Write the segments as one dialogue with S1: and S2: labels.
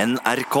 S1: NRK.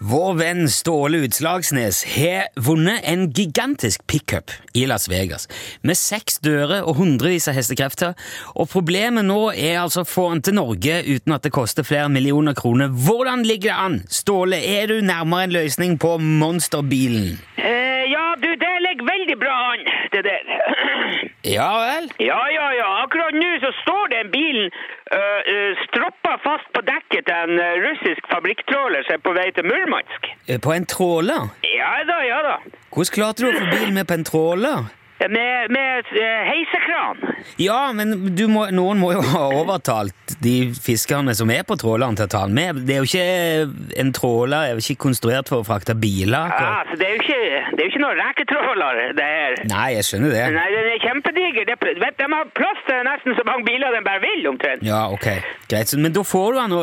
S2: Vår venn Ståle Utslagsnes har vunnet en gigantisk pickup i Las Vegas, med seks dører og hundrevis av hestekrefter, og problemet nå er altså å få den til Norge uten at det koster flere millioner kroner. Hvordan ligger det an? Ståle, er du nærmere en løsning på monsterbilen?
S3: Eh, ja, du, det ligger veldig bra an, det der.
S2: Ja vel?
S3: Ja, ja, ja. Akkurat nå så står den bilen uh, stroppa fast på dekket til en eh, russisk fabrikktråler som er på vei til Murmansk.
S2: Eh, På en tråler?
S3: Ja da, ja da.
S2: Hvordan klarte du å få bilen med på en tråler?
S3: Med, med eh, heisekran.
S2: Ja, men du må, noen må jo ha overtalt de fiskerne som er på tråleren til å ta den med. Det er jo ikke en tråler, er jo ikke konstruert for å frakte biler.
S3: Ja, Ah, så det er jo ikke, det er jo ikke noen reketråler, det her.
S2: Nei, jeg skjønner det.
S3: Nei, den er kjempediger. Det, er pl- vet, de har plass til nesten så mange biler de bare vil, omtrent.
S2: Ja, ok. Greit, så- men da får du den ø,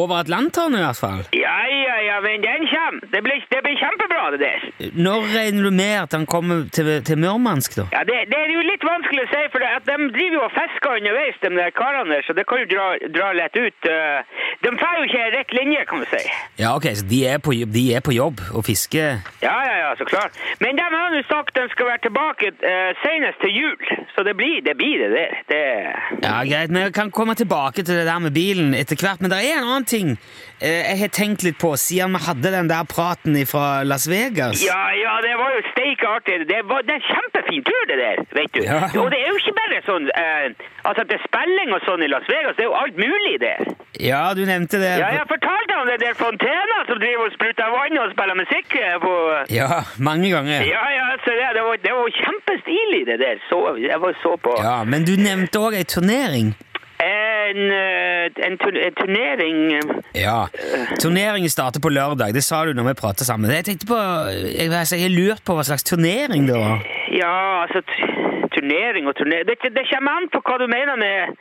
S2: over Atlanteren i hvert fall.
S3: Ja, ja, ja, men den kommer. Det blir, det blir kjempebra, det der.
S2: Når regner du med at den kommer til, til Murmansk, da?
S3: Ja, det, det er jo litt vanskelig å si, for det, at de driver jo og fisker underveis, de der karene der, så det kan jo dra, dra lett ut. eh. De får jo ikke en rett linje, kan du si.
S2: Ja, ok, så de er på, jobb- de er på jobb og fisker.
S3: Ja, ja, ja, så klart. Men de har nå sagt de skal være tilbake eh, senest til jul, så det blir det, blir det der. Det,
S2: Ja, greit, men jeg kan komme tilbake til det der med bilen etter hvert, men det er en annen ting eh, jeg har tenkt litt på siden vi hadde den der praten fra Las Vegas.
S3: ja, ja, det var jo steike artig. Det, var, det er en kjempefin tur, det der, vet du.
S2: Ja.
S3: Og det er jo ikke bare sånn, eh, altså at det er spilling og sånn i Las Vegas, det er jo alt mulig der.
S2: Ja, du nevnte det.
S3: Ja, jeg fortalte om det der fontena som driver og spruter vann og spiller musikk eh, på...
S2: Ja, mange ganger. Ja.
S3: Ja, ja, så det, det, var, det var kjempestilig det der. Så, jeg var så på
S2: Men du nevnte òg ei turnering.
S3: en, eh, en, tur- en turnering eh,
S2: Ja. Turneringen starter på lørdag, det sa du når vi prata sammen. Jeg tenkte på, jeg, altså, jeg har lurt på hva slags turnering det var.
S3: Ja, altså tu- turnering og turnering det, det kommer an på hva du mener med,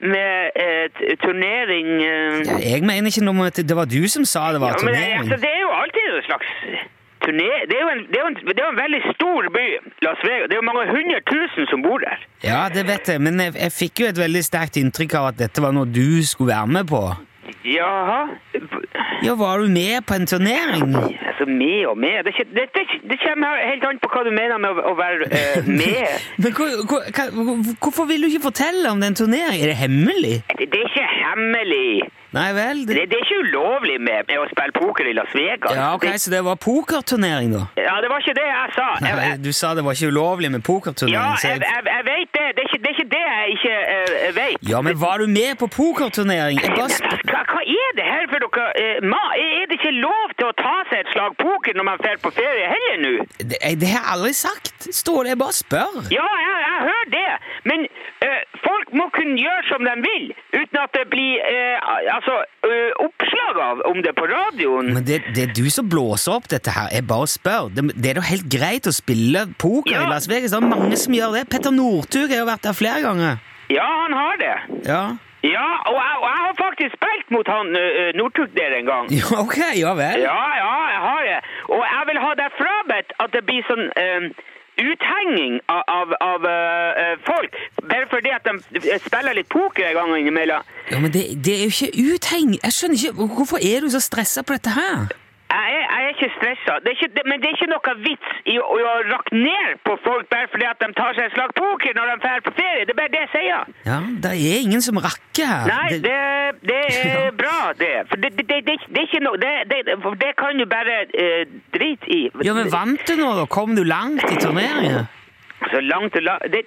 S3: med eh, t- turnering eh.
S2: Ja, Jeg mener ikke noe om at det var du som sa det var
S3: Ja, men, eh,
S2: turnering.
S3: altså, det er jo alltid en slags turner... Det er jo en, det er jo en, det er jo en veldig stor by, Las Vegas. Det er jo mange hundre tusen som bor der.
S2: Ja, det vet jeg, men jeg, jeg fikk jo et veldig sterkt inntrykk av at dette var noe du skulle være med på.
S3: Jaha.
S2: Ja, var du med på en turnering?
S3: Altså, med og med Det, er ikke- det, det, det kommer helt an på hva du mener med å, å være eh, med.
S2: Men hvor- hvor- hva- hvorfor vil du ikke fortelle om den turneringen? Er det hemmelig?
S3: Det, det er ikke hemmelig.
S2: Nei vel?
S3: Det,
S2: Det,
S3: det er ikke ulovlig med, med å spille poker i Las Vegas.
S2: ja, ok,
S3: det,
S2: Så det var pokerturnering, da?
S3: ja, det var ikke det jeg sa. Jeg,
S2: Nei,
S3: jeg,
S2: du sa det var ikke ulovlig med
S3: ja,
S2: pokerturnering. så
S3: jeg,
S2: jeg-
S3: jeg, jeg vet det. Det er ikke det, er ikke det jeg ikke eh, vet.
S2: Ja, men var du med på pokerturnering? Jeg bare
S3: Men
S2: sp
S3: Hva, hva er det her for dere? eh, ma, er det ikke lov til å ta seg et slag poker når man drar på ferie heller nå?
S2: det, jeg- det har jeg aldri sagt. Ståle, jeg bare spør.
S3: Ja, jeg, jeg hører det. Men eh, folk må kunne gjøre som de vil, uten at det blir eh, altså, eh, oppslag av om det på radioen.
S2: Men det, det er du som blåser opp dette her. Jeg bare spør. Det, det er da helt greit å spille poker i
S3: Ja.
S2: Las Vegas. Det er mange som gjør det. Petter Northug har jo vært der flere ganger.
S3: Ja, han har det.
S2: Ja,
S3: Ja, og jeg, og jeg har faktisk spilt mot han uh, Northug der en gang.
S2: ja ok. Ja vel.
S3: Ja, ja, jeg har det. Og jeg vil ha deg frabedt at det blir sånn eh, uthenging av, av, av eh, eh, folk. Bare fordi at de spiller litt poker en gang innimellom.
S2: Ja, Men det, det er jo ikke utheng... Jeg skjønner ikke Hvorfor er du så stressa på dette her?
S3: Jeg er, jeg er ikke stressa, det er ikke, det, men det er ikke noe vits i å, å rakke ned på folk bare fordi at de tar seg en slag poker når de drar på ferie. Det er bare det jeg sier.
S2: Ja, Det er ingen som rakker her.
S3: Nei, det, det
S2: Altså, Ja.
S3: er bra, det. For det, det, det, det, det er ikke noe Det, det, for det kan du bare eh, drite i.
S2: Ja, Men vant du nå, da? Kom du langt i turneringen?
S3: Så Altså, langt og langt det,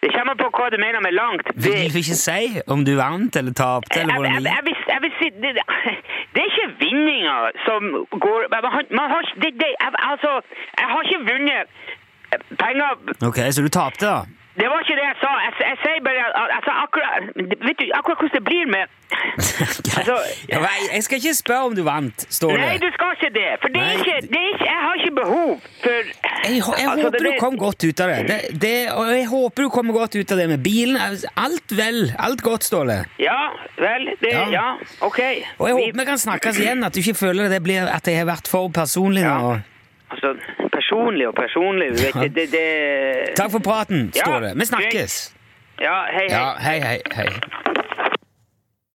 S3: det kommer på hva du mener med langt. Det,
S2: Vil du ikke si om du vant eller tapte?
S3: jeg,
S2: eller
S3: jeg,
S2: hvordan
S3: jeg,
S2: det gikk?
S3: vil, jeg vil si det, det er ikke vinninga som går man har, man har, ikke- det, det, jeg, Altså, jeg har ikke vunnet penger
S2: Ok, så du tapte, da?
S3: Det var ikke det jeg sa. Jeg, jeg sier bare at- altså, akkurat, Vet du akkurat hvordan det blir med Altså,
S2: ja, men jeg- jeg skal ikke spørre om du vant, Ståle.
S3: Nei, du skal ikke det. For det er
S2: Nei.
S3: ikke, det er ikke Jeg har ikke behov for
S2: Jeg, hå- jeg
S3: Altså,
S2: håper
S3: det-
S2: du kom godt ut av det. det, det og jeg håper du kommer godt ut av det med bilen. Alt vel. Alt godt, Ståle.
S3: Ja, vel. Det,
S2: Ja.
S3: ja. OK.
S2: Og jeg
S3: Vi-
S2: håper vi kan snakkes igjen, at du ikke føler det blir at jeg har vært for personlig nå.
S3: Altså, personlig og personlig du vet, det, det, det
S2: Takk for praten,
S3: Ja,
S2: Ståle. Vi
S3: greit.
S2: snakkes.
S3: Ja, hei, hei.
S2: Ja, hei, hei, hei.